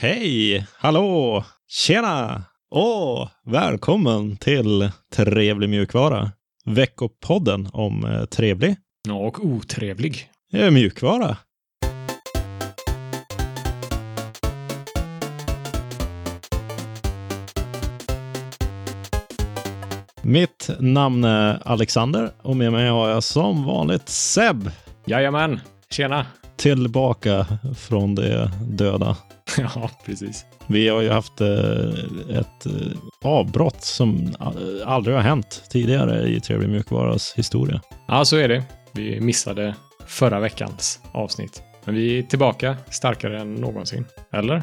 Hej! Hallå! Tjena! Och välkommen till Trevlig mjukvara. Veckopodden om eh, trevlig Ja, och otrevlig. eh, mjukvara. Mitt namn är Alexander och med mig har jag som vanligt Seb Jajamän, tjena. tillbaka från det döda. Ja, precis. Vi har ju haft eh, ett eh, avbrott som a- aldrig har hänt tidigare i Trevlig mjukvaras historia. Ja, så är det. Vi missade förra veckans avsnitt. Men vi är tillbaka starkare än någonsin. Eller?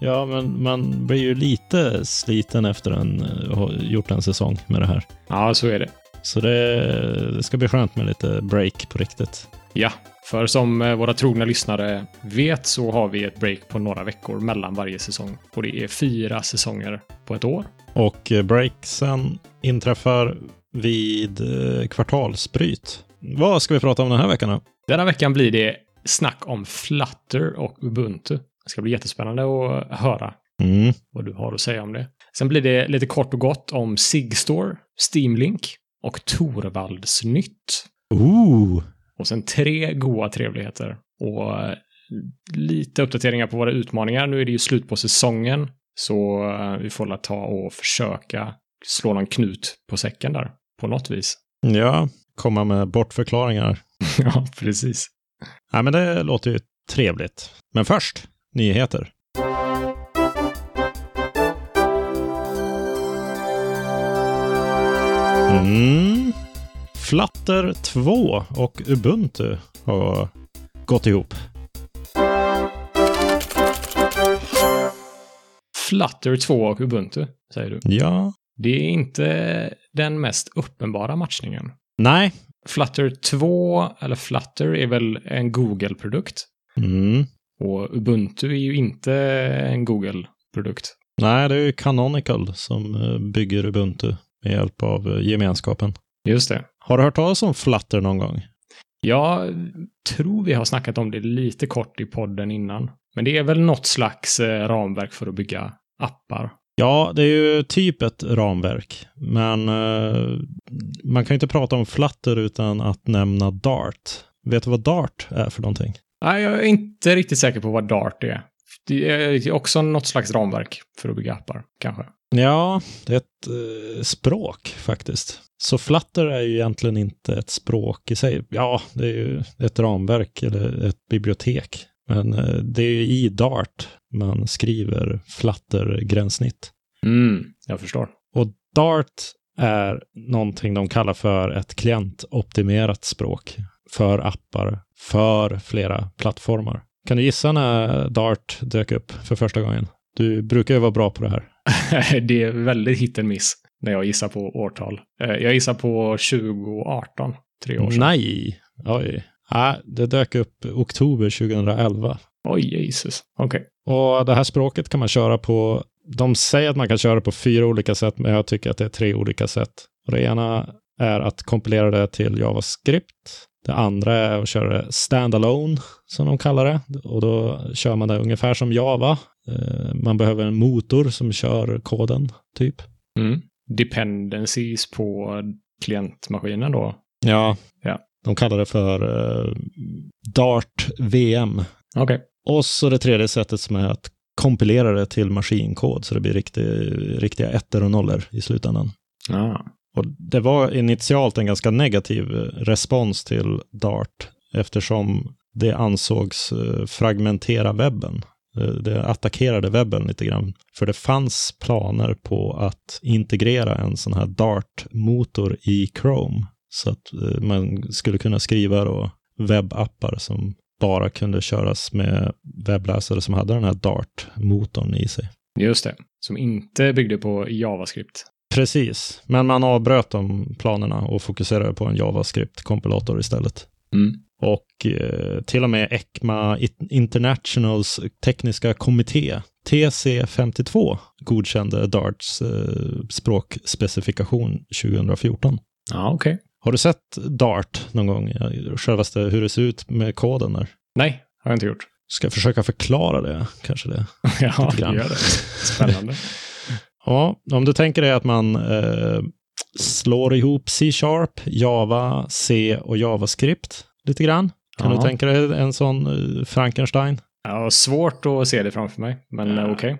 Ja, men man blir ju lite sliten efter en, eh, ha gjort en säsong med det här. Ja, så är det. Så det, det ska bli skönt med lite break på riktigt. Ja, för som eh, våra trogna lyssnare vet så har vi ett break på några veckor mellan varje säsong. Och det är fyra säsonger på ett år. Och eh, breaksen inträffar vid eh, kvartalsbryt. Vad ska vi prata om den här veckan då? Denna veckan blir det snack om Flutter och Ubuntu. Det ska bli jättespännande att höra Mm. vad du har att säga om det. Sen blir det lite kort och gott om Sigstore, Steamlink och Torvalds nytt. Ooh. Och sen tre goa trevligheter och eh, lite uppdateringar på våra utmaningar. Nu är det ju slut på säsongen, så eh, vi får la ta och försöka slå någon knut på säcken där på något vis. Ja, komma med bortförklaringar. ja, precis. Ja, men det låter ju trevligt. Men först, nyheter. Mm. Flutter 2 och Ubuntu har gått ihop. Flutter 2 och Ubuntu, säger du. Ja. Det är inte den mest uppenbara matchningen. Nej. Flutter 2, eller Flutter, är väl en Google-produkt. Mm. Och Ubuntu är ju inte en Google-produkt. Nej, det är ju Canonical som eh, bygger Ubuntu med hjälp av eh, gemenskapen. Just det. Har du hört talas om Flutter någon gång? Jag tror vi har snackat om det lite kort i podden innan. Men det är väl något slags eh, ramverk för att bygga appar. Ja, det är ju typ ett ramverk, men eh, man kan ju inte prata om flutter utan att nämna Dart. Vet du vad Dart är för någonting? Nej, jag är inte riktigt säker på vad Dart är. Det är också något slags ramverk för att bygga appar, kanske. Ja, det är ett eh, språk faktiskt. Så flutter är ju egentligen inte ett språk i sig. Ja, det är ju ett ramverk eller ett bibliotek. Men eh, det är ju i Dart man skriver flutter-gränssnitt. Mm, jag förstår. Och Dart är någonting de kallar för ett klientoptimerat språk för appar, för flera plattformar. Kan du gissa när Dart dök upp för första gången? Du brukar ju vara bra på det här. det är väldigt hit and miss när jag gissar på årtal. Eh, Jag gissar på 2018, tre år sedan. Nej, oj. Nej, det dök upp oktober 2011. Oj, Jesus. Okej. Och det här språket kan man köra på, de säger att man kan köra på fyra olika sätt, men jag tycker att det är tre olika sätt. Och det ena är att kompilera det till JavaScript. Det andra är att köra det standalone, som de kallar det. Och då kör man det ungefär som Java. Eh, Man behöver en motor som kör koden, typ. Mm. Dependencies på klientmaskinen då. Ja. Ja. De kallar det för eh, Dart VM. Okej. Och så det tredje sättet som är att kompilera det till maskinkod så det blir riktig, riktiga ettor och nollor i slutändan. Ah. Och det var initialt en ganska negativ eh, respons till Dart eftersom det ansågs eh, fragmentera webben. Eh, Det attackerade webben lite grann. För det fanns planer på att integrera en sån här Dart-motor i Chrome. Så att eh, man skulle kunna skriva då webbappar som bara kunde köras med webbläsare som hade den här Dart-motorn i sig. Just det. Som inte byggde på JavaScript. Precis, men man avbröt de planerna och fokuserade på en JavaScript-kompilator istället. Mm. Och eh, till och med ECMA I- Internationals tekniska kommitté, TC52, godkände Darts eh, språkspecifikation 2014. Ja, okej. Har du sett Dart någon gång? Självaste hur det ser ut med koden där? Nej, har jag inte gjort. Ska jag försöka förklara det, kanske det. ja, grann. gör det. Spännande. Ja, om du tänker dig att man eh, slår ihop C-sharp, Java, C och JavaScript lite grann. Kan Ja. du tänka dig en sån eh, Frankenstein? Ja, svårt att se det framför mig, men eh, okej.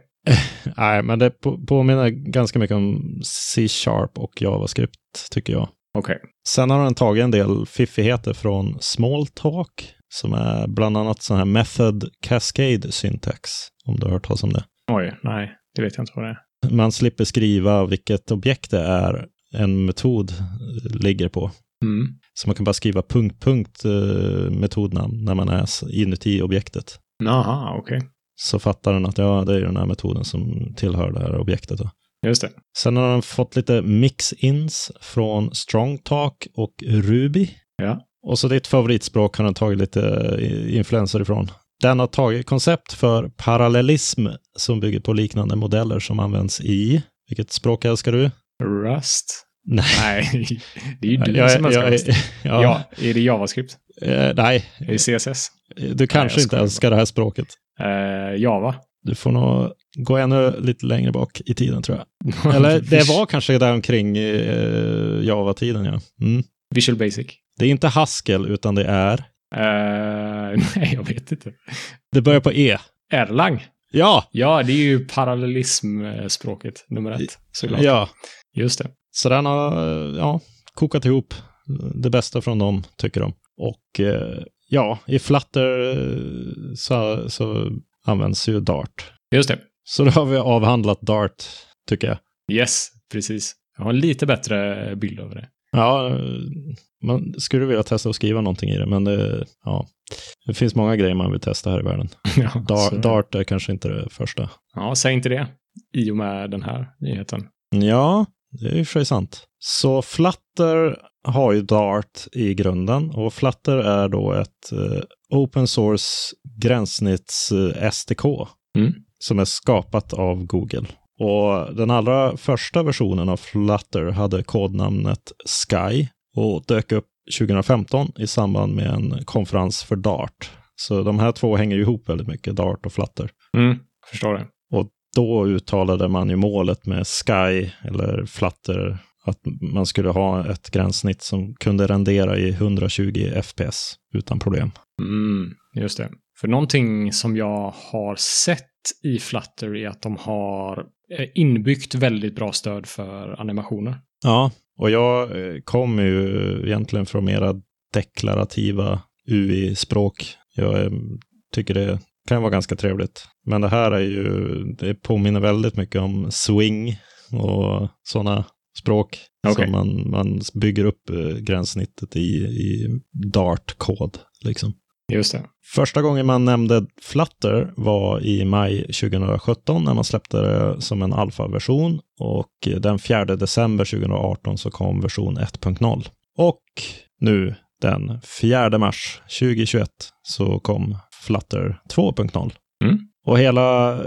Nej, men det på- påminner ganska mycket om C-sharp och JavaScript, tycker jag. Okej. Sen har den tagit en del fiffigheter från Smalltalk, som är bland annat sån här Method Cascade Syntax, om du har hört talas om det. Oj, nej, det vet jag inte vad det är. Man slipper skriva vilket objekt det är en metod eh, ligger på. Mm. Så man kan bara skriva punkt, punkt eh, metodnamn när man är s- inuti objektet. Jaha, okej. Så fattar den att ja, det är den här metoden som tillhör det här objektet. Då. Just det. Sen har den fått lite mix-ins från Strongtalk och Ruby. Ja. Och så ditt favoritspråk har den tagit lite eh, influenser ifrån. Den har tagit koncept för parallellism som bygger på liknande modeller som används i, vilket språk älskar du? Rust? Nej. Nej, det är ju du Jag- som älskar jag- Rust. ja, Ja. är det JavaScript? eh, nej, Är det CSS? du kanske inte skojar älskar det här språket. Eh, Java? Du får nog gå ännu lite längre bak i tiden tror jag. Eller det var kanske där omkring eh, Java-tiden, ja. Mm. Visual Basic? Det är inte Haskell, utan det är... Eh, nej, jag vet inte. Det börjar på E. Erlang? Ja! Ja, det är ju parallellismspråket nummer ett. Såklart. Ja. Just det. Så den har eh, ja, kokat ihop det bästa från dem, tycker de. Och eh, ja, i Flutter eh, så, så används ju Dart. Just det. Så då har vi avhandlat Dart, tycker jag. Yes, precis. Jag har en lite bättre bild över det. Ja, man skulle vilja testa att skriva någonting i det, men det, ja, det finns många grejer man vill testa här i världen. ja, Dar, så- Dart är kanske inte det första. Ja, säg inte det. I och med den här nyheten. Ja, det är ju i och för sig sant. Så Flutter har ju Dart i grunden och Flutter är då ett eh, open source gränssnitts eh, SDK Mm. som är skapat av Google. Och den allra första versionen av Flutter hade kodnamnet Sky och dök upp 2015 i samband med en konferens för Dart. Så de här två hänger ju ihop väldigt mycket, Dart och Flutter Mm, förstår det. då uttalade man ju målet med Sky eller Flutter att man skulle ha ett gränssnitt som kunde rendera i 120 FPS utan problem. Mm, just det. För någonting som jag har sett i Flutter är att de har eh, inbyggt väldigt bra stöd för animationer. Ja, och jag eh, kommer ju egentligen från mera deklarativa UI-språk. Jag eh, tycker det kan vara ganska trevligt. Men det här är ju, det påminner väldigt mycket om swing och sådana språk. Okej. Som man, man bygger upp eh, gränssnittet i, i Dart-kod. Liksom. Just det. Första gången man nämnde Flutter var i maj 2017 när man släppte det som en alfa-version och den 4 december 2018 så kom version 1.0. Och nu den 4 mars 2021 så kom Flutter 2.0. Mm. Och hela eh,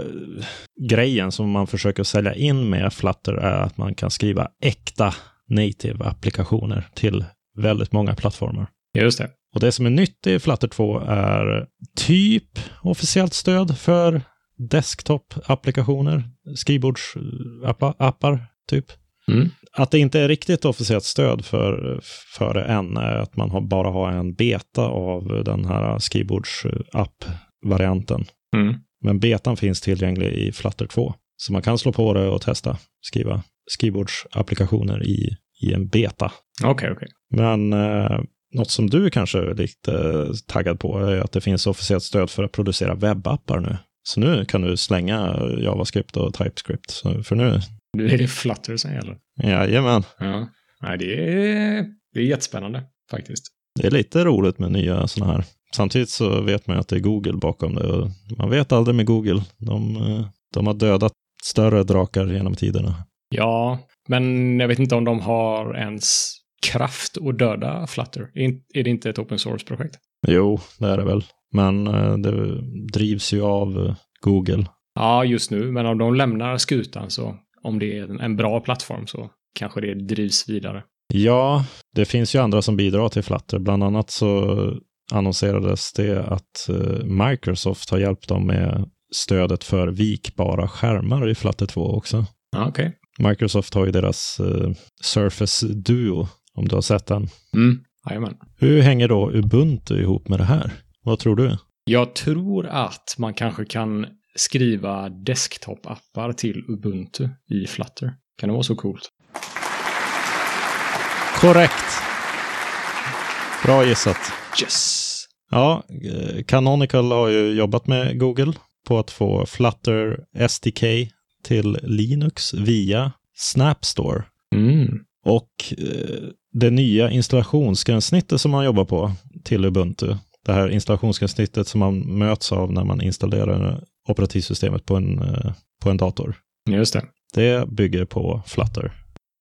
grejen som man försöker sälja in med Flutter är att man kan skriva äkta native-applikationer till väldigt många plattformar. Just det. Och det som är nytt i Flutter 2 är typ officiellt stöd för desktop-applikationer, skrivbordsappar, typ. Mm. Att det inte är riktigt officiellt stöd för, för det än är att man har, bara har en beta av den här skrivbordsapp-varianten. Mm. Men betan finns tillgänglig i Flutter 2. Så man kan slå på det och testa skriva skrivbordsapplikationer i, i en beta. Okej, okej. Men eh, något som du kanske är lite eh, taggad på är att det finns officiellt stöd för att producera webbappar nu. Så nu kan du slänga JavaScript och TypeScript. Så för nu, Nu är det Flutter som gäller. jajamän, Ja. Nej, det är, det är jättespännande faktiskt. det är lite roligt med nya sådana här. Samtidigt så vet man ju att det är Google bakom det. Och man vet aldrig med Google. De, eh, de har dödat större drakar genom tiderna. Ja, men jag vet inte om de har ens kraft att döda Flutter. Är in- Är det inte ett open source-projekt? Jo, det är det väl. Men eh, det drivs ju av eh, Google. Ja, just nu, men om de lämnar skutan så, om det är en- en bra plattform så kanske det drivs vidare. Ja, det finns ju andra som bidrar till Flutter. Bland annat så annonserades det att eh, Microsoft har hjälpt dem med stödet för vikbara skärmar i Flutter 2 också. Ja, okej. Microsoft har ju deras eh, Surface Duo, om du har sett den. Mm. Jajamän. Hur hänger då Ubuntu ihop med det här? Vad tror du? Jag tror att man kanske kan skriva desktop-appar till Ubuntu i Flutter. Kan det vara så coolt? Korrekt! Bra gissat. Yes! Ja, eh, Canonical har ju jobbat med Google på att få Flutter SDK till Linux via Snap Store. Mm. Och eh, det nya installationsgränssnittet som man jobbar på till Ubuntu, det här installationsgränssnittet som man möts av när man installerar operativsystemet på en, eh, på en dator, Just det. det bygger på Flutter.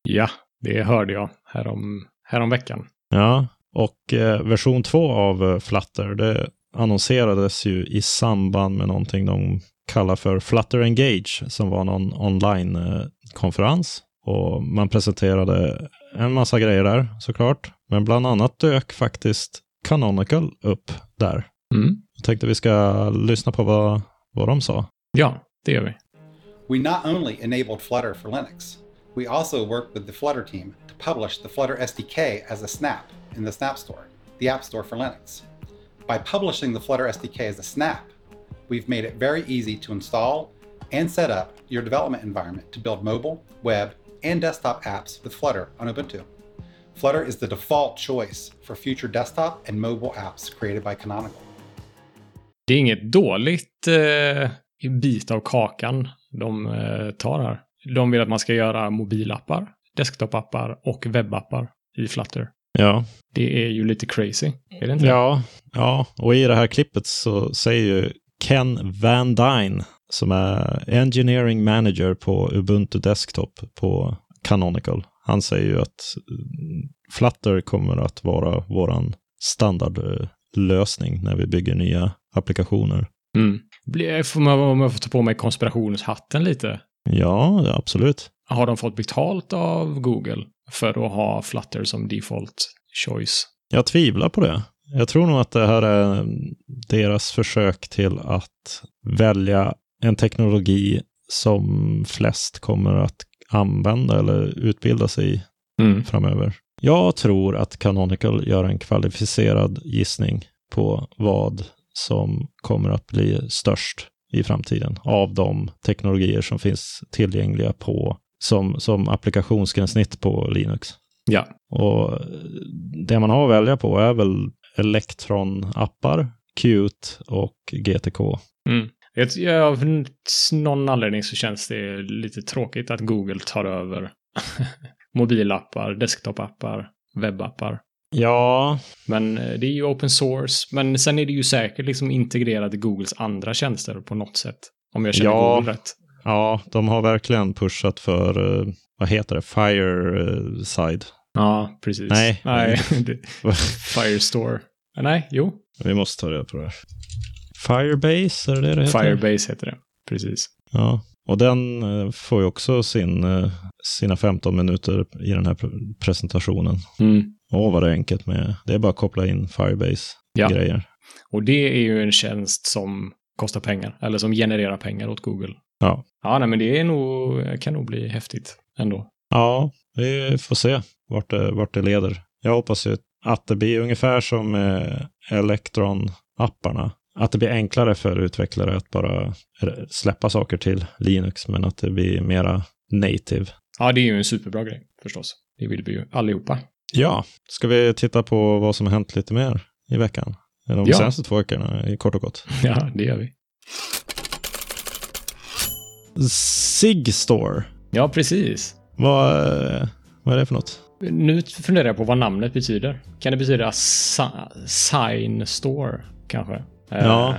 Ja, det hörde jag härom, härom veckan. Ja, och eh, version 2 av eh, Flutter, det annonserades ju i samband med någonting de kallar för Flutter Engage, som var någon online-konferens. Och man presenterade en massa grejer där såklart, men bland annat dök faktiskt Canonical upp där. Mm. Jag tänkte vi ska lyssna på vad, vad de sa. Ja, det gör vi. We not only enabled Flutter for Linux, we also worked with the Flutter team to publish the Flutter SDK as a snap in the Snap Store, the App Store for Linux. By publishing the Flutter SDK as a snap, we've made it very easy to install and set up your development environment to build mobile, web, and desktop apps with Flutter on Ubuntu. Flutter is the default choice for future desktop and mobile apps created by Canonical. Det är inget dåligt eh, bit av kakan de eh, tar här. De vill att man ska göra mobilappar, desktop-appar och webbappar i Flutter. Ja, Det är ju lite crazy. Är det inte? Ja, ja, och i det här klippet så säger ju Ken Van Dyne, som är engineering manager på Ubuntu Desktop på Canonical. Han säger ju att mm, Flutter kommer att vara våran standardlösning när vi bygger nya applikationer. Mm. Blir- Får man, om jag får ta på mig konspirationshatten lite. Ja, ja, absolut. Har de fått betalt av Google för att ha Flutter som default choice? Jag tvivlar på det. Jag tror nog att det här är deras försök till att välja en teknologi som flest kommer att använda eller utbilda sig i Mm. framöver. Jag tror att Canonical gör en kvalificerad gissning på vad som kommer att bli störst i framtiden av de teknologier som finns tillgängliga på som, som applikationsgränssnitt på Linux. Ja. Och det man har att välja på är väl Electron-appar, Qt och GTK. Jag, jag, av någon anledning så känns det lite tråkigt att Google tar över mobilappar, desktopappar, webbappar. Ja, Men eh, det är ju open source. Men sen är det ju säkert liksom integrerat i Googles andra tjänster på något sätt. Om jag känner Ja. Google rätt. ja, de har verkligen pushat för, eh, vad heter det, Fireside. Ja, precis. Nej. Nej. det- Firestore. Eh, Nej, jo. Vi måste ta reda på det här. Firebase, är det det det heter? Firebase heter det. Precis. Ja, och den eh, får ju också sin, eh, sina 15 minuter i den här pr- presentationen. Mm. Åh, vad det är enkelt med, det är bara att koppla in Ja. Firebase-grejer. Och det är ju en tjänst som kostar pengar, eller som genererar pengar åt Google. Ja. Ja, nej, men det är nog, kan nog bli häftigt ändå. Ja, vi får se vart det, vart det leder. Jag hoppas ju att det blir ungefär som eh, Electron-apparna. Att det blir enklare för utvecklare att bara r- släppa saker till Linux, men att det blir mera native. Ja, det är ju en superbra grej förstås. Det vill vi ju allihopa. Ja, ska vi titta på vad som har hänt lite mer i veckan? De Ja. senaste två veckorna, i kort och gott. Ja, det gör vi. Sigstore, Ja, precis. vad, eh, vad är det för något? Nu funderar jag på vad namnet betyder. Kan det betyda sa- sign store, kanske? Ja, Eh,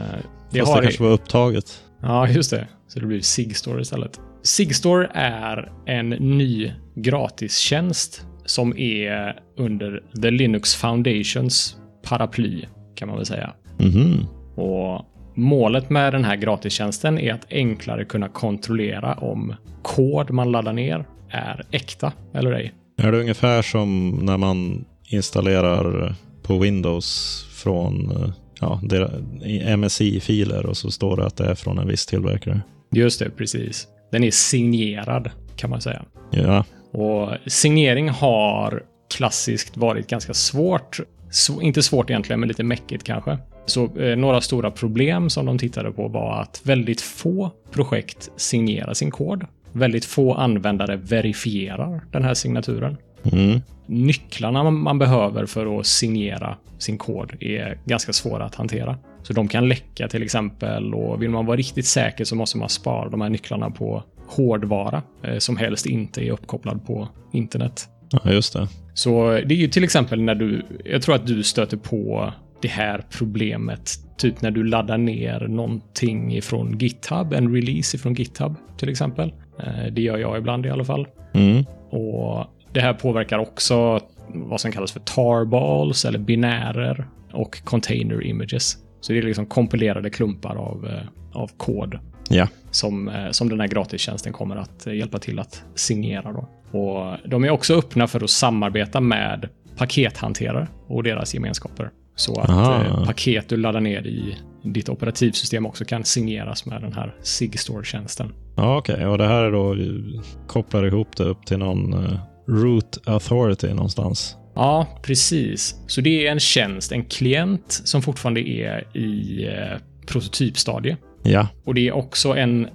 Det, Fast det kanske var upptaget. Ja, just det. Så det blir Sigstore istället. Sigstore är en ny gratistjänst som är under The Linux Foundations paraply, kan man väl säga. Mhm. Och målet med den här gratistjänsten är att enklare kunna kontrollera om kod man laddar ner är äkta eller ej. Är det ungefär som när man installerar på Windows från eh, ja, dera- i MSI-filer och så står det att det är från en viss tillverkare. Just det, precis. Den är signerad kan man säga. Ja, Och signering har klassiskt varit ganska svårt. Sv- inte svårt egentligen, men lite mäckigt kanske. Så eh, några stora problem som de tittade på var att väldigt få projekt signerar sin kod. Väldigt få användare verifierar den här signaturen. mm. Nycklarna man- man behöver för att signera sin kod är ganska svåra att hantera. Så de kan läcka till exempel och vill man vara riktigt säker så måste man spara de här nycklarna på hårdvara eh, som helst inte är uppkopplad på internet. ja just det. Så det är ju till exempel när du, jag tror att du stöter på det här problemet, typ när du laddar ner någonting ifrån GitHub, en release ifrån GitHub till exempel. Eh, Det gör jag ibland i alla fall. Mm. Och det här påverkar också vad som kallas för tarballs eller binärer och container images. Så det är liksom kompilerade klumpar av, eh, av kod Ja, som, eh, som den här gratistjänsten kommer att eh, hjälpa till att signera. Då. Och de är också öppna för att samarbeta med pakethanterare och deras gemenskaper. Så att Aha. eh, paket du laddar ner i ditt operativsystem också kan signeras med den här Sigstore-tjänsten. ja okej. Och det här är då eh, kopplar ihop det upp till någon eh, root authority någonstans. Ja, precis. Så det är en tjänst, en klient som fortfarande är i eh, prototypstadie. Ja, Och det är också en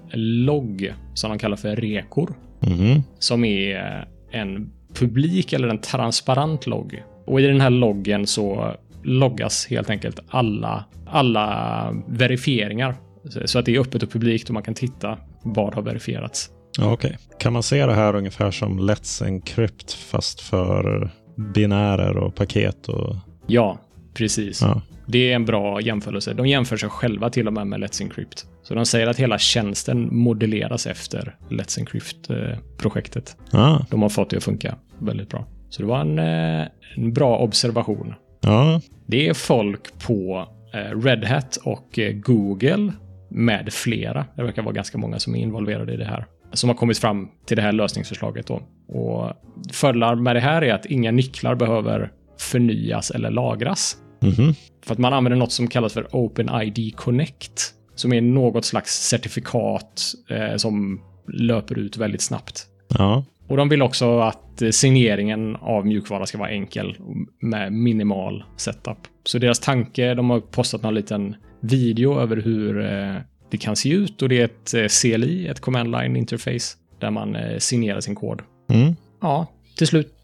logg som de kallar för rekor mhm. som är en publik eller en transparent logg. Och i den här loggen så loggas helt enkelt alla, alla verifieringar. Så att det är öppet och publikt och man kan titta vad har verifierats. ja okej. Kan man se det här ungefär som Let's Encrypt fast för binärer och paket och Ja, precis. ja. Det är en bra jämförelse. De jämför sig själva till och med med Let's Encrypt. Så de säger att hela tjänsten modelleras efter Let's Encrypt-projektet. Ah, De har fått det att funka väldigt bra. Så det var en, eh, en bra observation. ja, Det är folk på eh, Red Hat och eh, Google med flera. Det verkar vara ganska många som är involverade i det här. Som har kommit fram till det här lösningsförslaget. Då. Och fördelar med det här är att inga nycklar behöver förnyas eller lagras. mhm. För att man använder något som kallas för OpenID Connect. Som är något slags certifikat eh, som löper ut väldigt snabbt. ja, Och de vill också att eh, signeringen av mjukvara ska vara enkel med minimal setup. Så deras tanke, de har postat någon liten video över hur eh, det kan se ut och det är ett eh, CLI, ett command line interface, där man eh, signerar sin kod. mm. Ja, till slut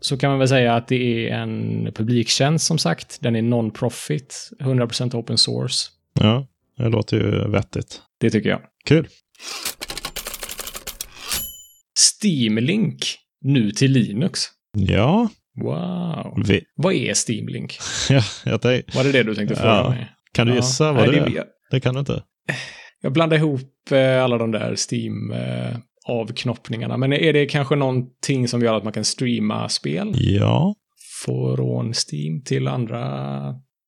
så kan man väl säga att det är en publiktjänst som sagt. Den är non-profit, 100% open source. ja, det låter ju vettigt. Det tycker jag. Kul. Steam Link, nu till Linux. Ja, Wow. vi, Vad är Steam Link? ja jag tänk, Var det det du tänkte fråga Ja. mig? kan du Ja. gissa Nej, vad det är? Jag, Det kan du inte. jag blandar ihop eh, alla de där Steam-avknoppningarna. Men är det kanske någonting som gör att man kan streama spel Ja, från Steam till andra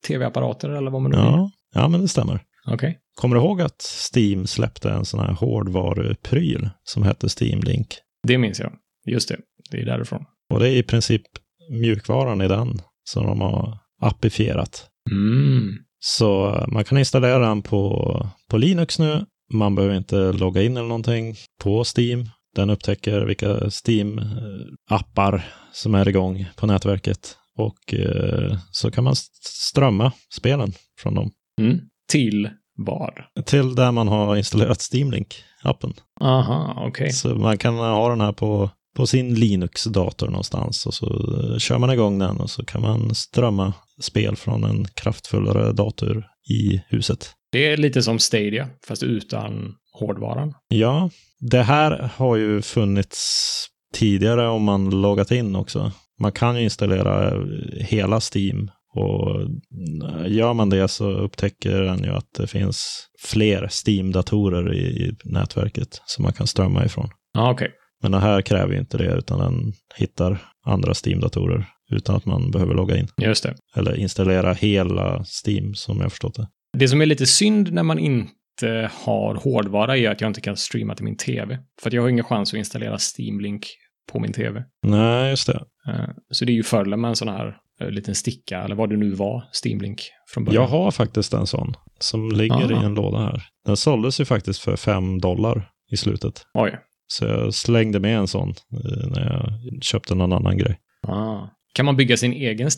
tv-apparater eller vad man nu vill? ja, ja, men det stämmer. Okej. Kommer du ihåg att Steam släppte en sån här hårdvarupryl som hette Steam Link? Det minns jag. Just det. Det är därifrån. Och det är i princip mjukvaran i den som de har appifierat. Mm. Så man kan installera den på, på Linux nu. Man behöver inte logga in eller någonting på Steam. Den upptäcker vilka Steam-appar som är igång på nätverket. Och eh, så kan man st- strömma spelen från dem Mm. Till vad? till där man har installerat Steam Link-appen. Aha, okej. Så man kan ha den här på, på sin Linux-dator någonstans och så eh, kör man igång den och så kan man strömma spel från en kraftfullare dator i huset. Det är lite som Stadia, fast utan hårdvaran. Ja, det här har ju funnits tidigare om man loggat in också. Man kan ju installera eh, hela Steam och eh, gör man det så upptäcker den ju att det finns fler Steam-datorer i i nätverket som man kan strömma ifrån. Ja, okej. Men den här kräver ju inte det, utan den hittar andra Steam-datorer utan att man behöver logga in. Just det. Eller installera hela Steam, som jag har förstått det. Det som är lite synd när man inte har hårdvara är att jag inte kan streama till min tv. För att jag har ingen chans att installera Steam Link på min tv. Nej, just det. Eh, Så det är ju fördelen med en sån här en liten sticka eller vad det nu var, Steamlink från början. Jag har faktiskt en sån som ligger Aha. i en låda här. Den såldes ju faktiskt för 5 dollar i slutet. Oj. Så jag slängde med en sån eh, när jag köpte någon annan grej. Ah. Kan man bygga sin egen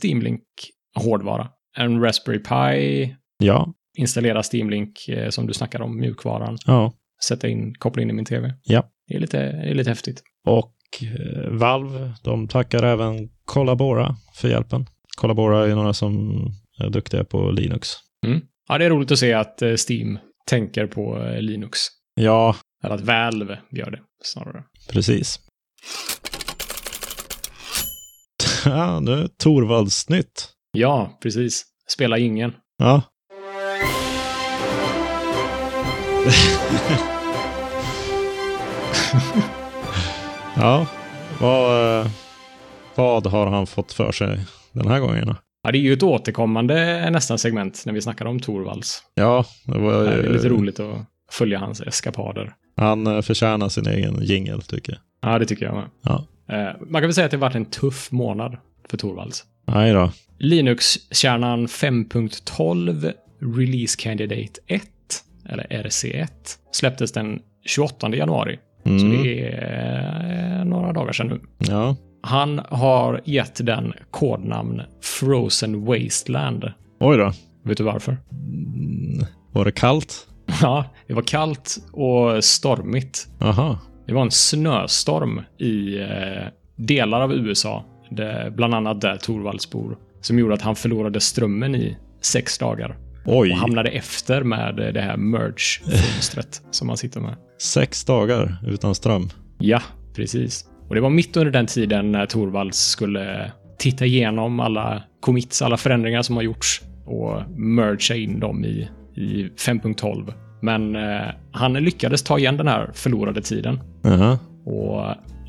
Steamlink-hårdvara? En Raspberry Pi, Ja, installera Steamlink eh, som du snackar om, mjukvaran, ja. sätta in, koppla in i min TV. Ja. Det är lite, det är lite häftigt. Och eh, Valve, de tackar även Collabora för hjälpen. Collabora är några som är duktiga på Linux. Ja, det är roligt att se att eh, Steam tänker på eh, Linux. Ja, Eller att Valve gör det, snarare. precis. Ja, nu Torvaldsnytt. Ja, precis. Spela ingen. Ja. ja, vad, eh, vad har han fått för sig den här gången? då? Ja, det är ju ett återkommande eh, nästan segment när vi snackar om Torvalds. Ja, det var Det är ju, lite roligt att följa hans eskapader. han eh, förtjänar sin egen jingel tycker jag. Ja, det tycker jag med. Ja. Eh, Man kan väl säga att det har varit en tuff månad för Torvalds. Nej då. Linux-kärnan 5.12 Release Candidate 1, eller RC1, släpptes den 28 januari. Så Mm, det är eh, några dagar sedan nu. ja. Han har gett den kodnamn Frozen Wasteland. Oj då. Vet du varför? Mm, var det kallt? Ja, det var kallt och stormigt. Aha. Det var en snöstorm i eh, delar av USA, där, bland annat där Torvalds bor, som gjorde att han förlorade strömmen i sex dagar Oj, och hamnade efter med eh, det här merge-fönstret som han sitter med. sex dagar utan ström. Ja, precis. Och det var mitt under den tiden när Torvalds skulle titta igenom alla commits, alla förändringar som har gjorts och mergea in dem i, i 5.12. Men eh, han lyckades ta igen den här förlorade tiden Aha. och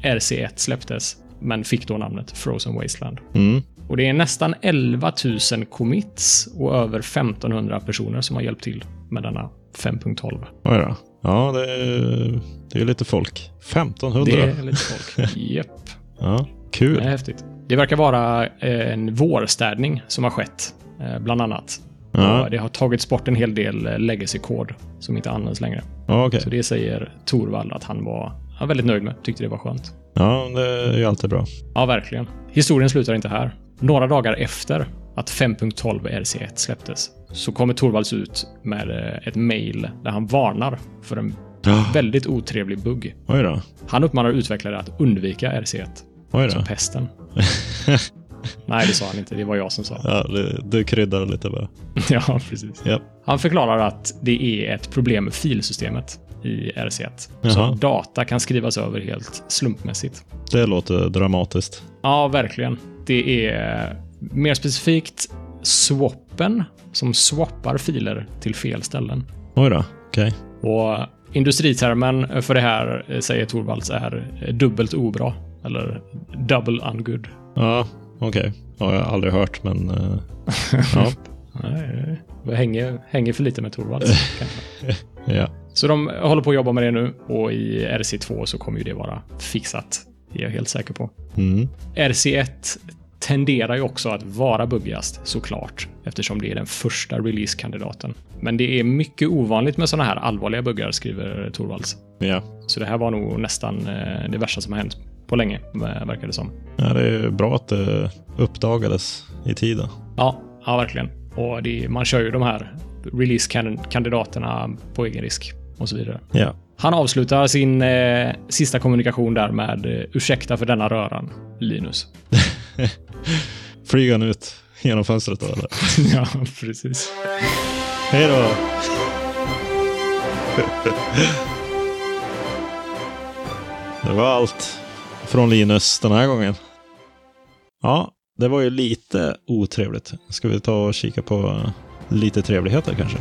RC1 släpptes, men fick då namnet Frozen Wasteland. Mm. Och det är nästan 11 000 commits och över 1500 personer som har hjälpt till med denna 5.12. Oj då. Ja, det är, det är lite folk. 1500. Det är lite folk. Japp. Ja, Det är kul. häftigt. Det verkar vara eh, en vårstädning som har skett, eh, bland annat. Ja. Och Det har tagits bort en hel del eh, legacy-kod som inte används längre. Ja, okej. Så det säger Torvald att han var han var väldigt nöjd med. Tyckte det var skönt. Ja, det är ju alltid bra. Ja, verkligen. Historien slutar inte här. Några dagar efter att 5.12 RC1 släpptes så kommer Torvalds ut med eh, ett mejl där han varnar för en väldigt otrevlig bugg. Oj då. Han uppmanar utvecklare att undvika RC1. Oj då. Som pesten. Nej, det sa han inte. Det var jag som sa. Ja, du, du kryddar lite bara. ja, precis. Ja. Han förklarar att det är ett problem med filsystemet i RC1. Så Jaha. data kan skrivas över helt slumpmässigt. Det låter dramatiskt. Ja, verkligen. Det är mer specifikt swappen som swappar filer till fel ställen. Oj då. Okej. Och industritermen för det här, eh, säger Torvalds, är eh, dubbelt obra. Eller double ungood. Ja, okej. Ja, jag har aldrig hört, men... eh, ja. Nej, Jag hänger, hänger för lite med Torvalds. kanske. ja. så de håller på att jobba med det nu och i RC2 så kommer ju det vara fixat. Det är jag helt säker på. Mm. RC1 tenderar ju också att vara buggigast såklart, eftersom det är den första releasekandidaten. Men det är mycket ovanligt med sådana här allvarliga buggar, skriver Torvalds. Ja. Så det här var nog nästan eh, det värsta som har hänt på länge, eh, verkar det som. ja, det är bra att det uppdagades i tiden. Ja, ja verkligen. Och det, man kör ju de här releasekandidaterna på egen risk och så vidare. Ja. Han avslutar sin eh, sista kommunikation där med eh, ursäkta för denna röran, Linus. Flyger han ut genom fönstret då, eller? ja, precis. Hej då! Det var allt från Linus den här gången. Ja, det var ju lite otrevligt. Ska vi ta och kika på eh, lite trevligheter kanske?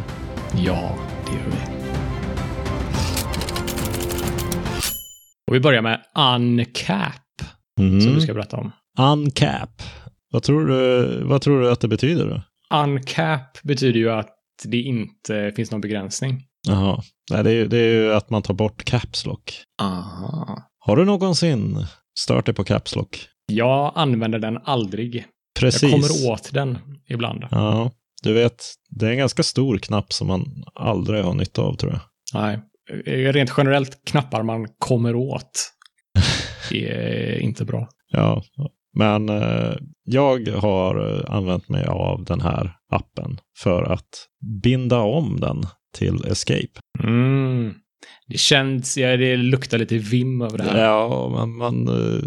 Ja, det gör vi. Och vi börjar med Uncap, som Mm. du ska berätta om. Uncap. Vad tror, du, vad tror du att det betyder då? Uncap betyder ju att det inte finns någon begränsning. Jaha. Nej, det är, ju- det är ju att man tar bort caps lock. Aha. Har du någonsin stört dig på caps lock? Jag använder den aldrig. Precis. Jag kommer åt den ibland. Ja, du vet, det är en ganska stor knapp som man aldrig har nytta av tror jag. Nej. Eh, Rent generellt knappar man kommer åt är inte bra. Ja, men eh, jag har eh, använt mig av den här appen för att binda om den till Escape. Mm. Det känns, ja, det luktar lite vim över det här. Ja, man, man eh,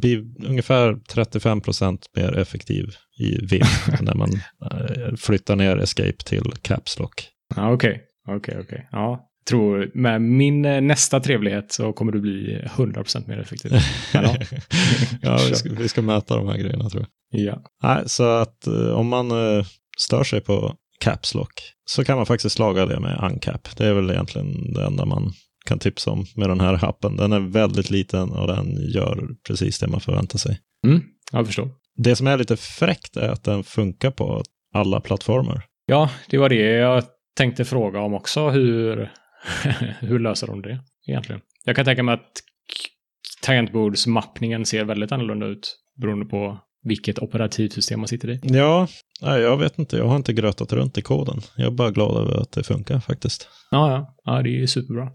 blir ungefär 35 procent mer effektiv i VIM när man eh, flyttar ner Escape till Caps Lock. Ja, okej. Okej, okej. Ja. Tror med min eh, nästa trevlighet så kommer du bli 100% mer effektiv. Ja. ja, vi ska, vi ska mäta de här grejerna tror jag. ja. Nej, så att eh, om man eh, stör sig på Caps Lock så kan man faktiskt laga det med Uncap. Det är väl egentligen det enda man kan tipsa om med den här appen. Den är väldigt liten och den gör precis det man förväntar sig. Mm, jag förstår. Det som är lite fräckt är att den funkar på alla plattformar. Ja, det var det jag tänkte fråga om också. Hur, hur löser de det egentligen? Jag kan tänka mig att k- tangentbordsmappningen ser väldigt annorlunda ut beroende på vilket operativsystem man sitter i. Ja, nej, jag vet inte. Jag har inte grötat runt i koden. Jag är bara glad över att det funkar faktiskt. Ja, ja, ja det är ju superbra.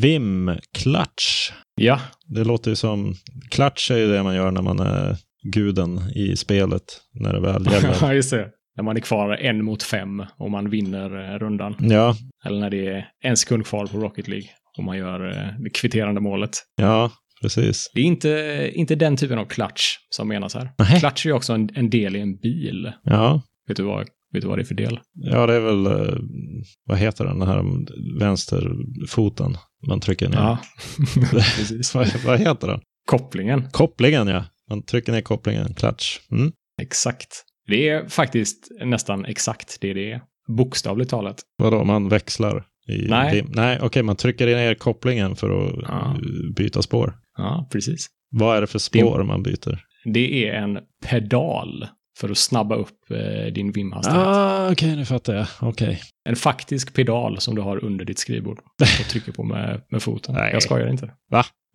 Vim Clutch. Ja, Det låter ju som... Clutch är ju det man gör när man är guden i spelet när det väl gäller. ja just det. När man är kvar en mot fem och man vinner eh, rundan. Ja, Eller när det är en sekund kvar på Rocket League och man gör eh, det kvitterande målet. ja, precis. Det är inte, inte den typen av klatsch som menas här. Nej. Klatsch är ju också en, en del i en bil. Ja, Vet du, vad, vet du vad det är för del? ja det är väl, eh, vad heter den här vänsterfoten man trycker ner? precis. vad, vad heter den? Kopplingen. Kopplingen ja, man trycker ner kopplingen, klatsch. Mm. Exakt. Det är faktiskt nästan exakt det det är. Bokstavligt talat. Vadå, man växlar? I Nej. dim- Nej, okej, man trycker ner kopplingen för att Ja. eh, byta spår. Ja, precis. Vad är det för spår man byter? Det är en pedal för att snabba upp eh, din vimhastighet. Ah, okej, nu fattar jag. Okej. En faktisk pedal som du har under ditt skrivbord och trycker på med, med foten. Nej. Jag skojar inte.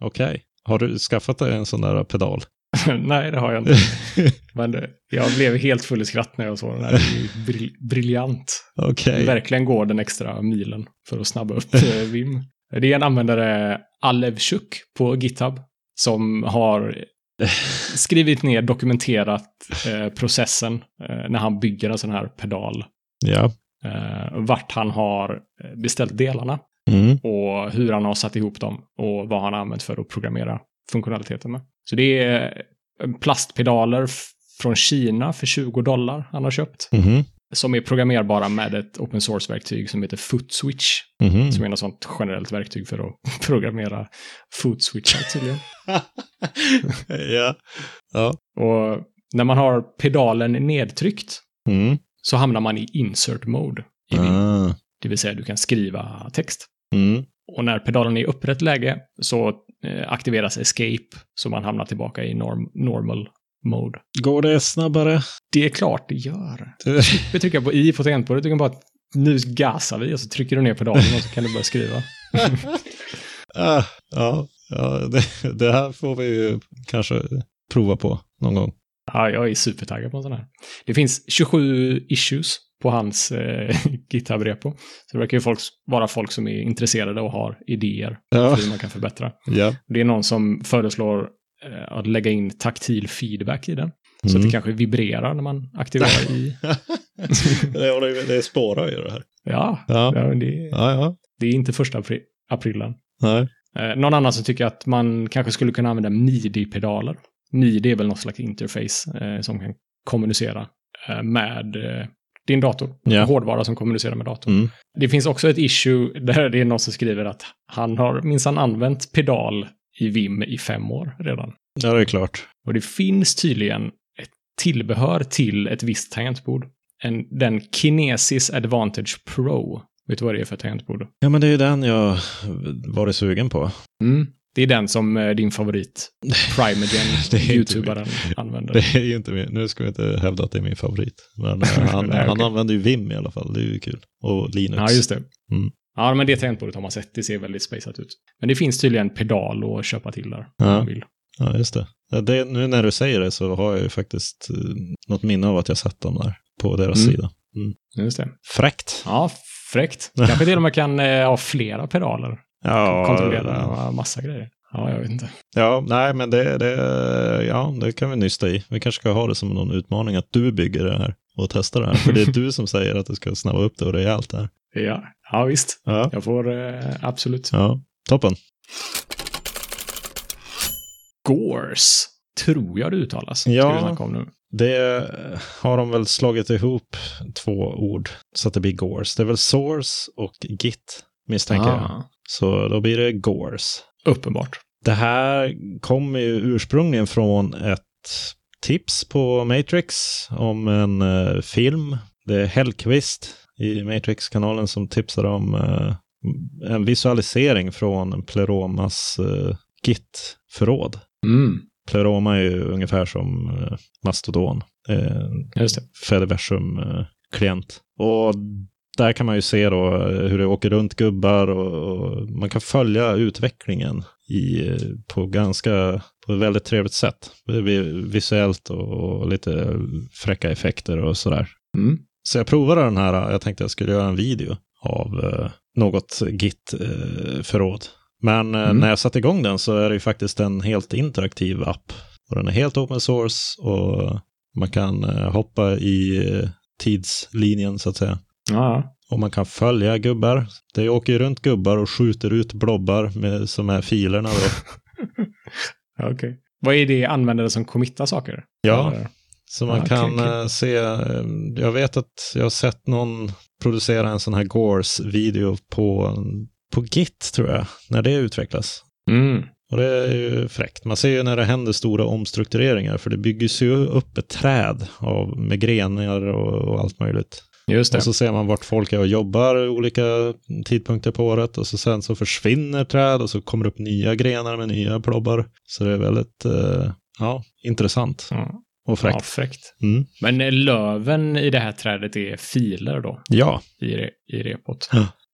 Okej. Har du skaffat dig en sån där pedal? Nej, det har jag inte. Men eh, jag blev helt full i skratt när jag såg den här. Det är ju bril- briljant. Okej. Verkligen går den extra milen för att snabba upp eh, Vim. Det är en användare, Alevchuk, på GitHub, som har skrivit ner, dokumenterat eh, processen eh, när han bygger en sån här pedal. Ja. Eh, vart han har eh, beställt delarna Mm. och hur han har satt ihop dem och vad han har använt för att programmera funktionaliteten med. Så det är eh, plastpedaler f- från Kina för 20 dollar han har köpt Mhm. som är programmerbara med ett open source-verktyg som heter FootSwitch Mhm. som är något sånt generellt verktyg för att programmera FootSwitchar tydligen. ja. Ja. och när man har pedalen nedtryckt Mm. så hamnar man i insert mode. I Vim. Ah. Det vill säga du kan skriva text. Mm. Och när pedalen är i upprätt läge så eh, aktiveras escape så man hamnar tillbaka i norm, normal mode. Går det snabbare? Det är klart det gör. Du trycker på i på tangentbordet, du kan bara nu gasar vi och så trycker du ner pedalen och så kan du börja skriva. Ah, ja, ja det, det här får vi ju kanske prova på någon gång. Ja, jag är supertaggad på en sån här. Det finns 27 issues på hans eh, GitHub-repo. Så det verkar ju folk, vara folk som är intresserade och har idéer Ja. för hur man kan förbättra. ja. Det är någon som föreslår eh, att lägga in taktil feedback i den. Så Mm. att det kanske vibrerar när man aktiverar i. det, håller ju- det spårar ju det här. Ja, Ja, ja, men det, ja. ja. det är inte första apri- aprilen. Nej. Eh, någon annan som tycker att man kanske skulle kunna använda midi-pedaler. Midi är väl något slags interface eh, som kan kommunicera eh, med eh, din dator. Ja. Hårdvara som kommunicerar med datorn. Mm. Det finns också ett issue där det är någon som skriver att han har minsann använt pedal i VIM i fem år redan. Ja, det är klart. Och det finns tydligen ett tillbehör till ett visst tangentbord. En, den Kinesis Advantage Pro. Vet du vad det är för tangentbord? Ja, men det är ju den jag varit sugen på. Mm. Det är den som eh, din favorit Det är typ Primogen, inte youtubaren, använder. Det är ju inte min, nu ska vi inte hävda att det är min favorit. Men eh, han, Nej, han okej. använder ju Vim i alla fall, det är ju kul. Och Linux. Ja, just det. Mm. Ja, men det tangentbordet har man sett. Det ser väldigt spaceat ut. Men det finns tydligen pedal att köpa till där. Om Ja. man vill. Ja, just det. Ja, det, nu när du säger det så har jag ju faktiskt eh, något minne av att jag sett dem där på deras Mm. sida. Just det. Fräckt. Ja, fräckt. Kanske till och med kan eh, ha flera pedaler. Ja, kontrollera och massa grejer. Ja, jag vet inte. Ja, nej, men det, det, ja, det kan vi nysta i. Vi kanske ska ha det som någon utmaning att du bygger det här och testar det här. För det är du som säger att du ska snabba upp det och rejält där. Ja, ja visst. Ja, Jag får eh, absolut. ja toppen. Gores, tror jag det uttalas. Ja. Ska vi snacka om nu. Det har de väl slagit ihop två ord så att det blir gores. Det är väl source och git misstänker jag. Ah, Så då blir det gores. Uppenbart. Det här kommer ju ursprungligen från ett tips på Matrix om en eh, film. Det är Hellqvist i Matrix-kanalen som tipsar om eh, en visualisering från Pleromas eh, Git-förråd. Mm, Pleroma är ju ungefär som eh, Mastodon, eh, just det. Fediversum-klient. eh, Och där kan man ju se då eh, hur det åker runt gubbar och, och man kan följa utvecklingen i, eh, på, ganska, på ett väldigt trevligt sätt. Det blir Visuellt och, och lite fräcka effekter och sådär. Mm. Så jag provade den här, jag tänkte jag skulle göra en video av eh, något Git-förråd. Men eh, Mm. när jag satte igång den så är det ju faktiskt en helt interaktiv app. Och den är helt open source och man kan eh, hoppa i eh, tidslinjen så att säga. Ja, Och man kan följa gubbar. Det åker ju runt gubbar och skjuter ut blobbar med, som är filerna då. ja, okej. Vad är det användare som committar saker? Ja, Eller? Så man Ah, kan kul, kul. eh, se, eh, jag vet att jag har sett någon producera en sån här Gores-video på, på Git tror jag, när det utvecklas. Mm. Och det är ju fräckt. Man ser ju när det händer stora omstruktureringar, för det byggs ju upp ett träd av, med grenar och, och allt möjligt. Just det. Och så ser man vart folk är och jobbar olika tidpunkter på året och så sen så försvinner träd och så kommer det upp nya grenar med nya plobbar. Så det är väldigt eh, ja, intressant Ja, och ja, fräckt. fräckt. Mm. Men eh, löven i det här trädet är filer då, Ja. i, re- i repot.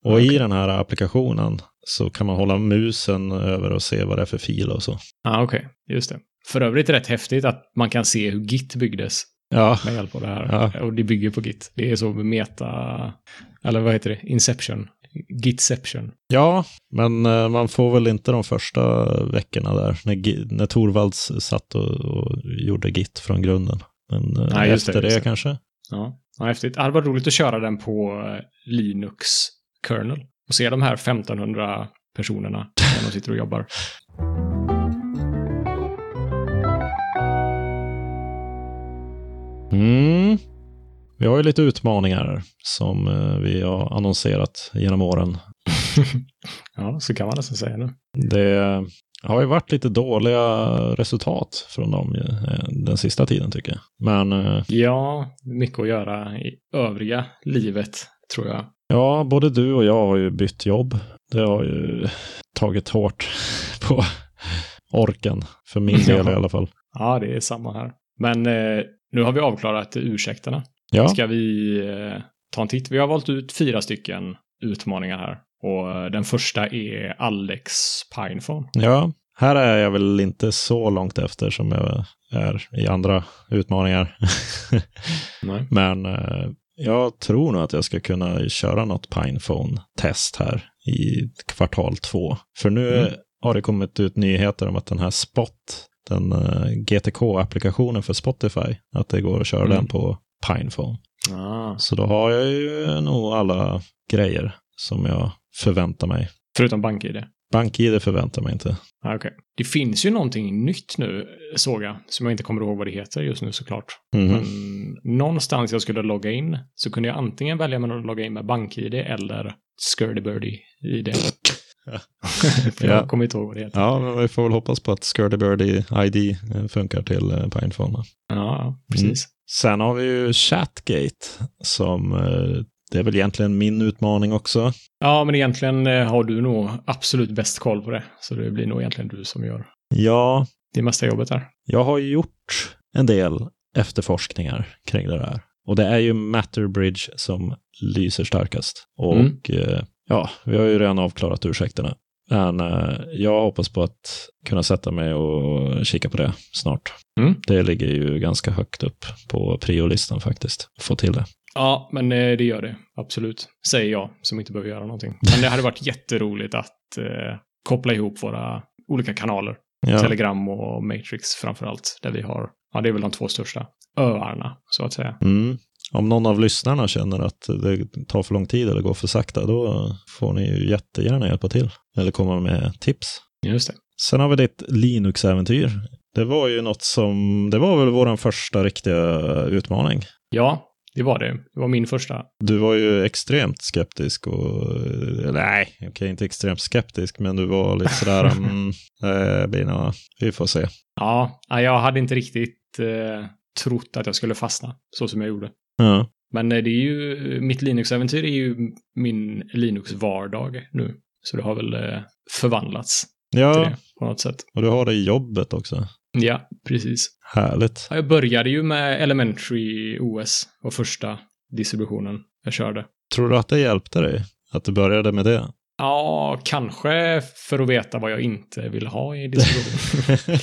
Och i den här applikationen så kan man hålla musen över och se vad det är för fil och så. Ja, ah, okej. Just det. För övrigt rätt häftigt att man kan se hur Git byggdes Ja, med hjälp av det här. Ja. Och det bygger på Git. Det är så meta... Eller vad heter det? Inception. Gitception. ja men eh, man får väl inte de första veckorna där när, Gi- när Torvalds satt och, och gjorde Git från grunden. Men eh, Nej, just det, efter det, just det. kanske. Ja. ja, häftigt. Det hade varit roligt att köra den på eh, Linux kernel och se de här 1500 personerna när de sitter och jobbar. Mm. Vi har ju lite utmaningar som eh, vi har annonserat genom åren. Ja, så kan man nästan säga nu. Det har ju varit lite dåliga resultat från dem eh, den sista tiden tycker jag. Men eh, Ja, mycket att göra i övriga livet, tror jag. Ja, både du och jag har ju bytt jobb. Det har ju tagit hårt på orken, för min del i Ja. alla fall. Ja, det är samma här. Men eh, nu har vi avklarat ursäkterna. Ja, Ska vi eh, ta en titt? Vi har valt ut fyra stycken utmaningar här. Och eh, den första är Alex Pinephone. ja, här är jag väl inte så långt efter som jag är i andra utmaningar. Nej. Men eh, jag tror nog att jag ska kunna köra något Pinephone-test här i kvartal två. För nu Mm. har det kommit ut nyheter om att den här Spot, den eh, GTK-applikationen för Spotify, att det går att köra Mm. den på Pinephone. Ah. Så då har jag ju nog alla grejer som jag förväntar mig. Förutom BankID. BankID förväntar mig inte. Ah, okay. Det finns ju någonting nytt nu, såg jag, som jag inte kommer ihåg vad det heter just nu såklart. Mhm. Mm-hmm. Men någonstans jag skulle logga in så kunde jag antingen välja mellan att logga in med BankID eller Skirdybirdie-ID. För jag Ja. kommer inte ihåg vad det heter. Ja, men vi får väl hoppas på att Skirty Birdie ID eh, funkar till eh, Pinephone. Ja, precis. Sen har vi ju Chatgate som eh, det är väl egentligen min utmaning också. Ja, men egentligen eh, har du nog absolut bäst koll på det. Så det blir nog egentligen du som gör Ja, det mesta jobbet där. jag har ju gjort en del efterforskningar kring det där. Och det är ju Matterbridge som lyser starkast. Och Mm. eh, ja, vi har ju redan avklarat ursäkterna. Men eh, jag hoppas på att kunna sätta mig och kika på det snart. Mm. Det ligger ju ganska högt upp på priolistan faktiskt. Få till det. Ja, men eh, det gör det. Absolut. Säger jag, som inte behöver göra någonting. Men det hade varit jätteroligt att eh, koppla ihop våra olika kanaler. Ja, Telegram och Matrix framför allt. Där vi har, ja det är väl de två största öarna, så att säga. mm. Om någon av lyssnarna känner att det tar för lång tid eller går för sakta, då får ni ju jättegärna hjälpa till. Eller komma med tips. Just det. Sen har vi ditt Linux-äventyr. Det var ju något som, det var väl vår första riktiga utmaning. Ja, det var det. Det var min första. Du var ju extremt skeptisk och, eller nej, okej inte extremt skeptisk, men du var lite sådär, mm, eh, blir nog, vi får se. Ja, nej, jag hade inte riktigt eh, trott att jag skulle fastna, så som jag gjorde. Ja, Men eh, det är ju, mitt Linux-äventyr är ju min Linux-vardag nu. Så det har väl eh, förvandlats till ja det på något sätt. och du har det i jobbet också. Ja, precis. Härligt. Ja, Jag började ju med Elementary OS, var första distributionen jag körde. Tror du att det hjälpte dig? Att du började med det? Ja, kanske för att veta vad jag inte vill ha i distributionen.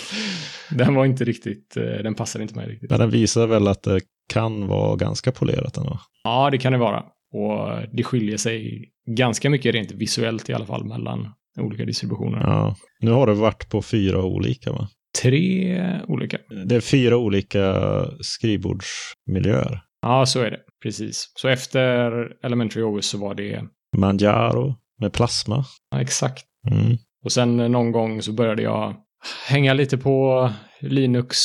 den var inte riktigt, eh, den passade inte mig riktigt. men den visar väl att det kan vara ganska polerat ändå. Ja, det kan det vara. Och det skiljer sig ganska mycket rent visuellt i alla fall mellan olika distributioner. Ja. Nu har du varit på fyra olika va? Tre olika. Det är fyra olika skrivbordsmiljöer. Ja, så är det. Precis. Så efter Elementary OS så var det Manjaro med plasma. ja, exakt Mm. Och sen någon gång så började jag hänga lite på Linux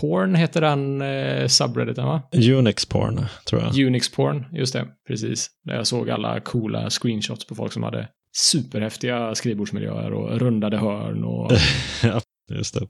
Porn heter den eh, subredditen va? Unix-porn tror jag. Unix Porn, just det, precis. Där jag såg alla coola screenshots på folk som hade superhäftiga skrivbordsmiljöer och rundade hörn och Just det.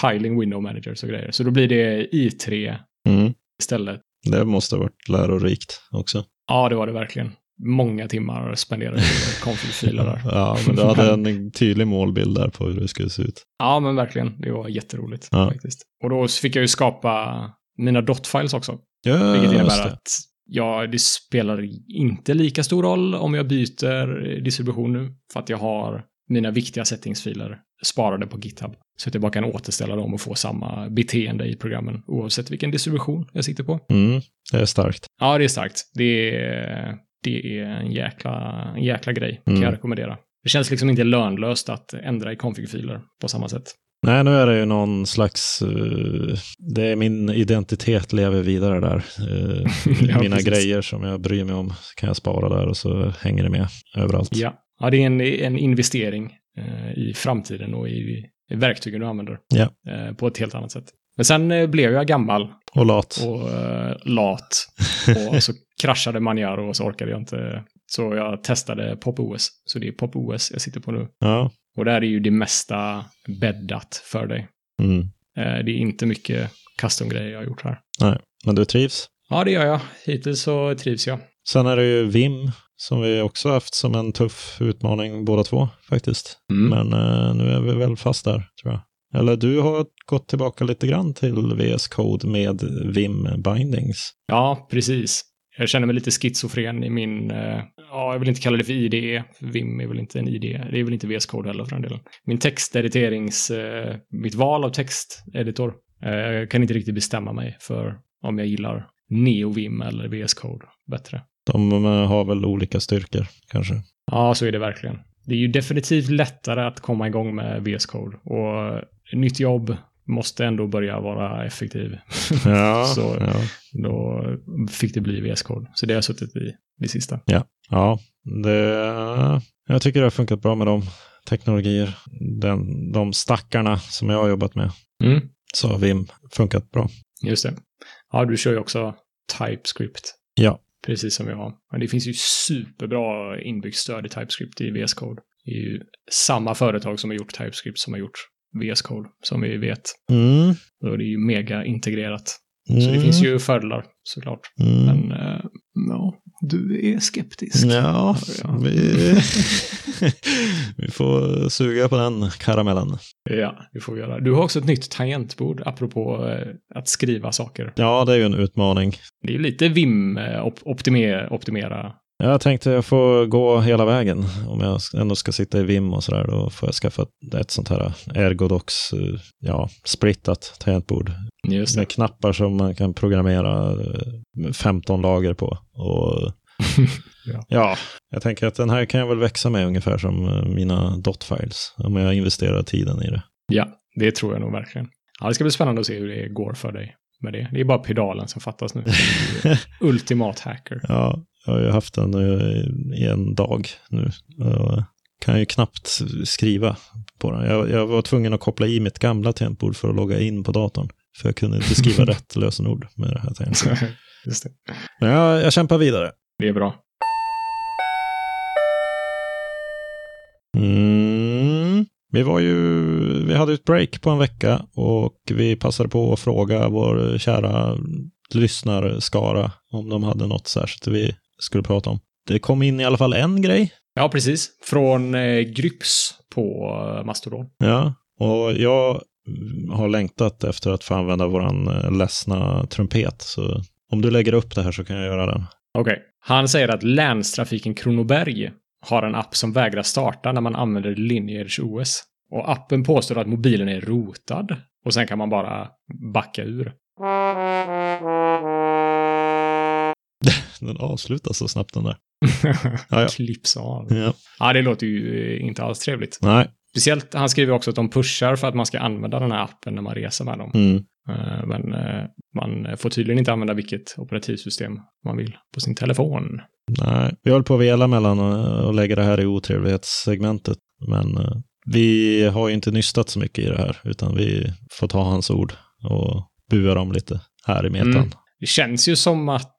tiling window managers och grejer. Så då blir det i3 Mm. istället. Det måste ha varit lärorikt också. Ja, det var det verkligen. Många timmar spenderade i config-filer där. Ja, men du hade en tydlig målbild där på hur det skulle se ut. Ja, men verkligen. Det var jätteroligt Ja. faktiskt. Och då fick jag ju skapa mina dot-files också. Ja, Vilket just innebär det. att ja, det spelar inte lika stor roll om jag byter distribution nu. För att jag har mina viktiga settingsfiler sparade på GitHub. Så att jag bara kan återställa dem och få samma beteende i programmen oavsett vilken distribution jag sitter på. Mm. Det är starkt. Ja, det är starkt. Det är, det är en, jäkla, en jäkla grej. Kan Mm. jag rekommendera. Det känns liksom inte lönlöst att ändra i config-filer på samma sätt. Nej, nu är det ju någon slags... eh, det är min identitet lever vidare där. Eh, Ja, mina precis. grejer som jag bryr mig om kan jag spara där och så hänger det med överallt. Ja, ja det är en, en investering eh, i framtiden och i, i verktygen du använder Ja. eh, på ett helt annat sätt. Men sen eh, blev jag gammal Och lat. och eh, lat och så kraschade Manjaro och så orkade jag inte. Så jag testade Pop-OS. Så det är Pop-OS jag sitter på nu. Ja. Och där är ju det mesta bäddat för dig. Mm. Eh, det är inte mycket custom-grejer jag har gjort här. Men du trivs? Ja, det gör jag. Hittills så trivs jag. Sen är det ju VIM som vi också haft som en tuff utmaning båda två faktiskt. Mm. Men eh, nu är vi väl fast där tror jag. Eller du har gått tillbaka lite grann till VS Code med VIM bindings. Ja, precis. Jag känner mig lite schizofren i min, eh, ja, jag vill inte kalla det för IDE. Vim är väl inte en IDE. Det är väl inte VS Code heller för den delen. Min textediterings, eh, mitt val av texteditor. Eh, jag kan inte riktigt bestämma mig för om jag gillar NeoVim eller VS Code bättre. De eh, har väl olika styrkor kanske. Ja, så är det verkligen. Det är ju definitivt lättare att komma igång med VS Code och eh, nytt jobb måste ändå börja vara effektiv. Ja, Så- ja. Då fick det bli VS Code. Så det har jag suttit i det sista. ja det, jag tycker det har funkat bra med de teknologier. Den, de stackarna som jag har jobbat med. Mm, Så har VIM funkat bra. just det. Ja, du kör ju också TypeScript. Ja. Precis som jag. Men det finns ju superbra inbyggt stöd i TypeScript i VS Code. Det är ju samma företag som har gjort TypeScript som har gjort VS Code, som vi vet. Mm. Och det är ju mega integrerat. Mm. Så det finns ju fördelar såklart. Mm. Men eh, ja, du är skeptisk. Ja, Ja. vi, vi får suga på den karamellen. Ja, det får vi göra. Du har också ett nytt tangentbord, apropå eh, att skriva saker. Ja, det är ju en utmaning. eh, Det är ju lite VIM-optimera Jag tänkte jag får gå hela vägen. Om jag ändå ska sitta i VIM och sådär, då får jag skaffa ett- ett sånt här Ergodox, eh, ja, splittat tangentbord. Just Med knappar som man kan programmera eh, 15 lager på. Och Ja. ja. jag tänker att den här kan jag väl växa med ungefär som eh, mina dot-files. Om jag investerar tiden i det. Ja, det tror jag nog verkligen. Ja, det ska bli spännande att se hur det går för dig med det. Det är bara pedalen som fattas nu. Ultimat hacker. Ja, jag har ju haft den eh, i en dag nu. Jag kan ju knappt skriva på den. Jag, jag var tvungen att koppla i mitt gamla tangentbord för att logga in på datorn. För jag kunde inte skriva rätt lösenord med det här tangentbordet. Just det. Men jag, jag kämpar vidare. det är bra. Mm. Vi var ju, vi hade ett break på en vecka och vi passade på att fråga vår kära lyssnarskara om de hade något särskilt vi skulle prata om. Det kom in i alla fall en grej. Ja, precis. Från eh, Gryps på eh, Mastodon. Ja, och jag har längtat efter att få använda våran eh, ledsna trumpet. Så om du lägger upp det här så kan jag göra den. Okej. Han säger att Länstrafiken Kronoberg har en app som vägrar starta när man använder Lineage OS. Och appen påstår att mobilen är rotad. Och sen kan man bara backa ur. Den avslutas så snabbt den där. Ja, ja. Klipps av. Ja. Ja, det låter ju eh, inte alls trevligt. Nej. Speciellt, han skriver också att de pushar för att man ska använda den här appen när man reser med dem. Mm. Eh, Men eh, man får tydligen inte använda vilket operativsystem man vill på sin telefon. Nej. Vi höll på att vela mellan eh, och lägga det här i otrevlighetssegmentet. Men eh, vi har ju inte nystat så mycket i det här, utan vi får ta hans ord och bua dem lite här i metan. Mm. Det känns ju som att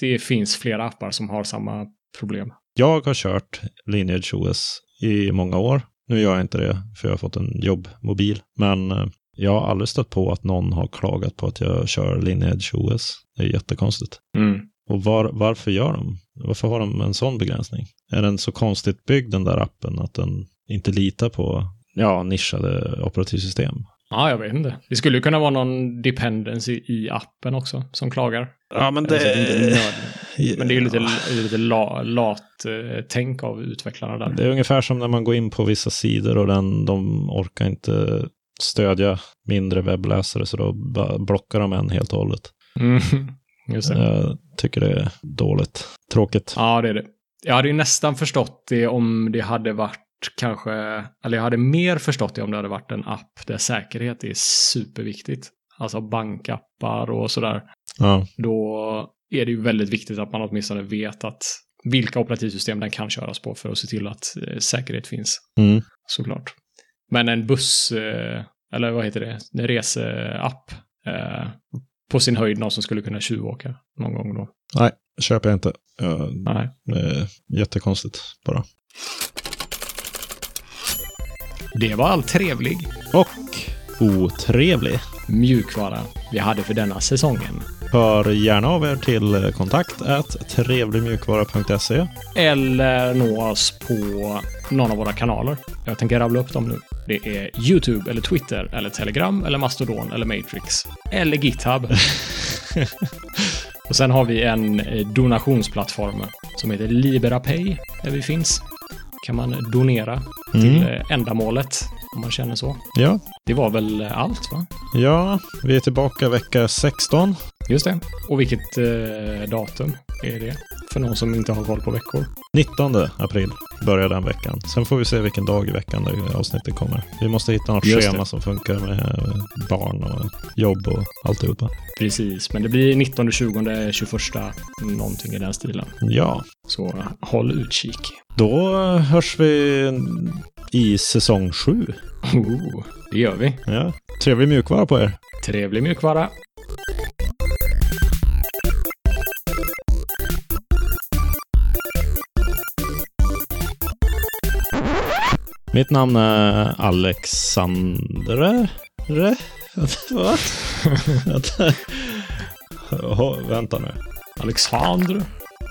det finns flera appar som har samma problem. Jag har kört Lineage OS i många år. Nu gör jag inte det, för jag har fått en jobbmobil. Men eh, jag har aldrig stött på att någon har klagat på att jag kör Lineage OS. Det är jättekonstigt. Och var, varför gör de? Varför har de en sån begränsning? Är den så konstigt byggd, den där appen, att den inte litar på ja, nischade operativsystem? Ja, jag vet inte. Det skulle ju kunna vara någon dependency i appen också som klagar. Ja, men Eller så är Alltså, det inte nödvändigt. Men det är ju lite, lite la, lat eh, tänk av utvecklarna där. Det är ungefär som när man går in på vissa sidor och den, de orkar inte stödja mindre webbläsare så då bara blockar de en helt och hållet. Mm. Just det. Jag tycker det är dåligt. Tråkigt. Ja, det är det. Jag hade ju nästan förstått det om det hade varit kanske, eller jag hade mer förstått det om det hade varit en app där säkerhet är superviktigt. Alltså bankappar och sådär. Ja. Då är det ju väldigt viktigt att man åtminstone vet att vilka operativsystem den kan köras på för att se till att eh, säkerhet finns, Mm. såklart. Men en buss, eh, eller vad heter det, en reseapp, eh, på sin höjd någon som skulle kunna tjuvåka någon gång då. Köper jag inte. Ja, Nej. det är jättekonstigt bara. Det var allt trevlig. Och otrevlig. mjukvara vi hade för denna säsongen. Hör gärna av er till kontakt at trevligmjukvara.se. Eller nå oss på någon av våra kanaler. Jag tänker rabbla upp dem nu. Det är YouTube, eller Twitter, eller Telegram, eller Mastodon, eller Matrix. Eller GitHub. Och sen har vi en eh, donationsplattform som heter LiberaPay, där vi finns. Kan man donera till Mm. eh, ändamålet, om man känner så. Ja. Det var väl eh, allt, va? ja, vi är tillbaka vecka 16. Just det. Och vilket eh, datum är det? För någon som inte har koll på veckor. 19 april börjar den veckan. Sen får vi se vilken dag i veckan det avsnittet kommer. Vi måste hitta något Just schema det. som funkar med eh, barn och jobb och alltihopa. Precis, men det blir 19, 20, 21, någonting i den stilen. Ja, Så eh, håll utkik. då hörs vi i säsong 7. Oh, det gör vi. Ja. Trevlig mjukvara på er. Trevlig mjukvara. Mitt namn är Alexandre. Re? Va? Vänta. Åh, vänta nu. Alexander.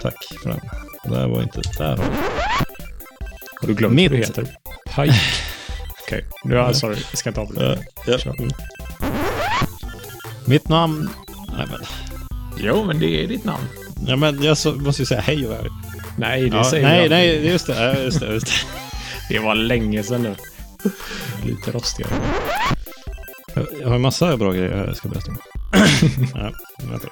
Tack för den. Det här var inte... Där. Har du glömt Mitt. vad det heter? Pike. Okej, nu är jag sorry. Jag ska inte avbryta. Ja, ja. Mm. Mitt namn... Nej, men. Jo, men det är ditt namn. Ja, men jag så, måste ju säga hej och hej. Nej, det Ja, säger nej, jag. nej, just det. ja, Just det, just det. Det var länge sedan nu. Lite rostigare. Jag- Jag har en massa bra grejer jag ska berätta om. Nej, vänta.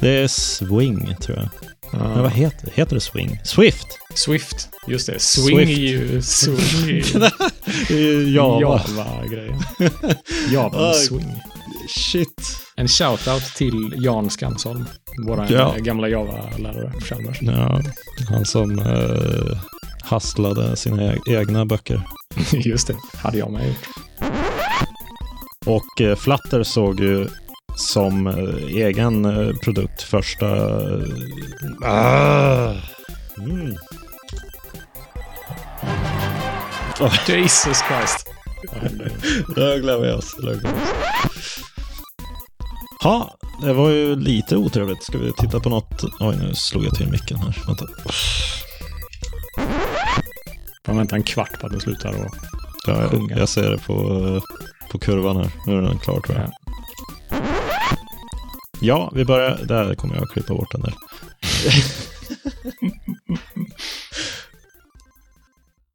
Det är Swing, tror jag. Men vad heter, heter det Swing? Swift! Swift. Just det. Swing Swift. är ju... Swing är ju... Eh, Ja, Java-grejen. Java med Oj. swing. shit. En shout-out till Jan Skamsholm. Vår Ja. Mm. eh, gamla Java-lärare på Chalmers. Ja, han som eh, hasslade sina e- egna böcker. Just det. Hade jag med gjort. Och eh, Flutter såg ju som eh, egen eh, produkt första... eh, ah. Mm. Jesus Christ. Rögle med oss. Rögle med oss. Ja, det var ju lite otrevligt. Ska vi titta på något? Oj, nu slog jag till micken här. Vänta. Man väntar en kvart på att det slutar och... Ja, jag, Sjunga. jag ser det på, eh, på kurvan här. Nu är den klar tror jag. Ja, vi börjar. Där kommer jag att klippa bort den där.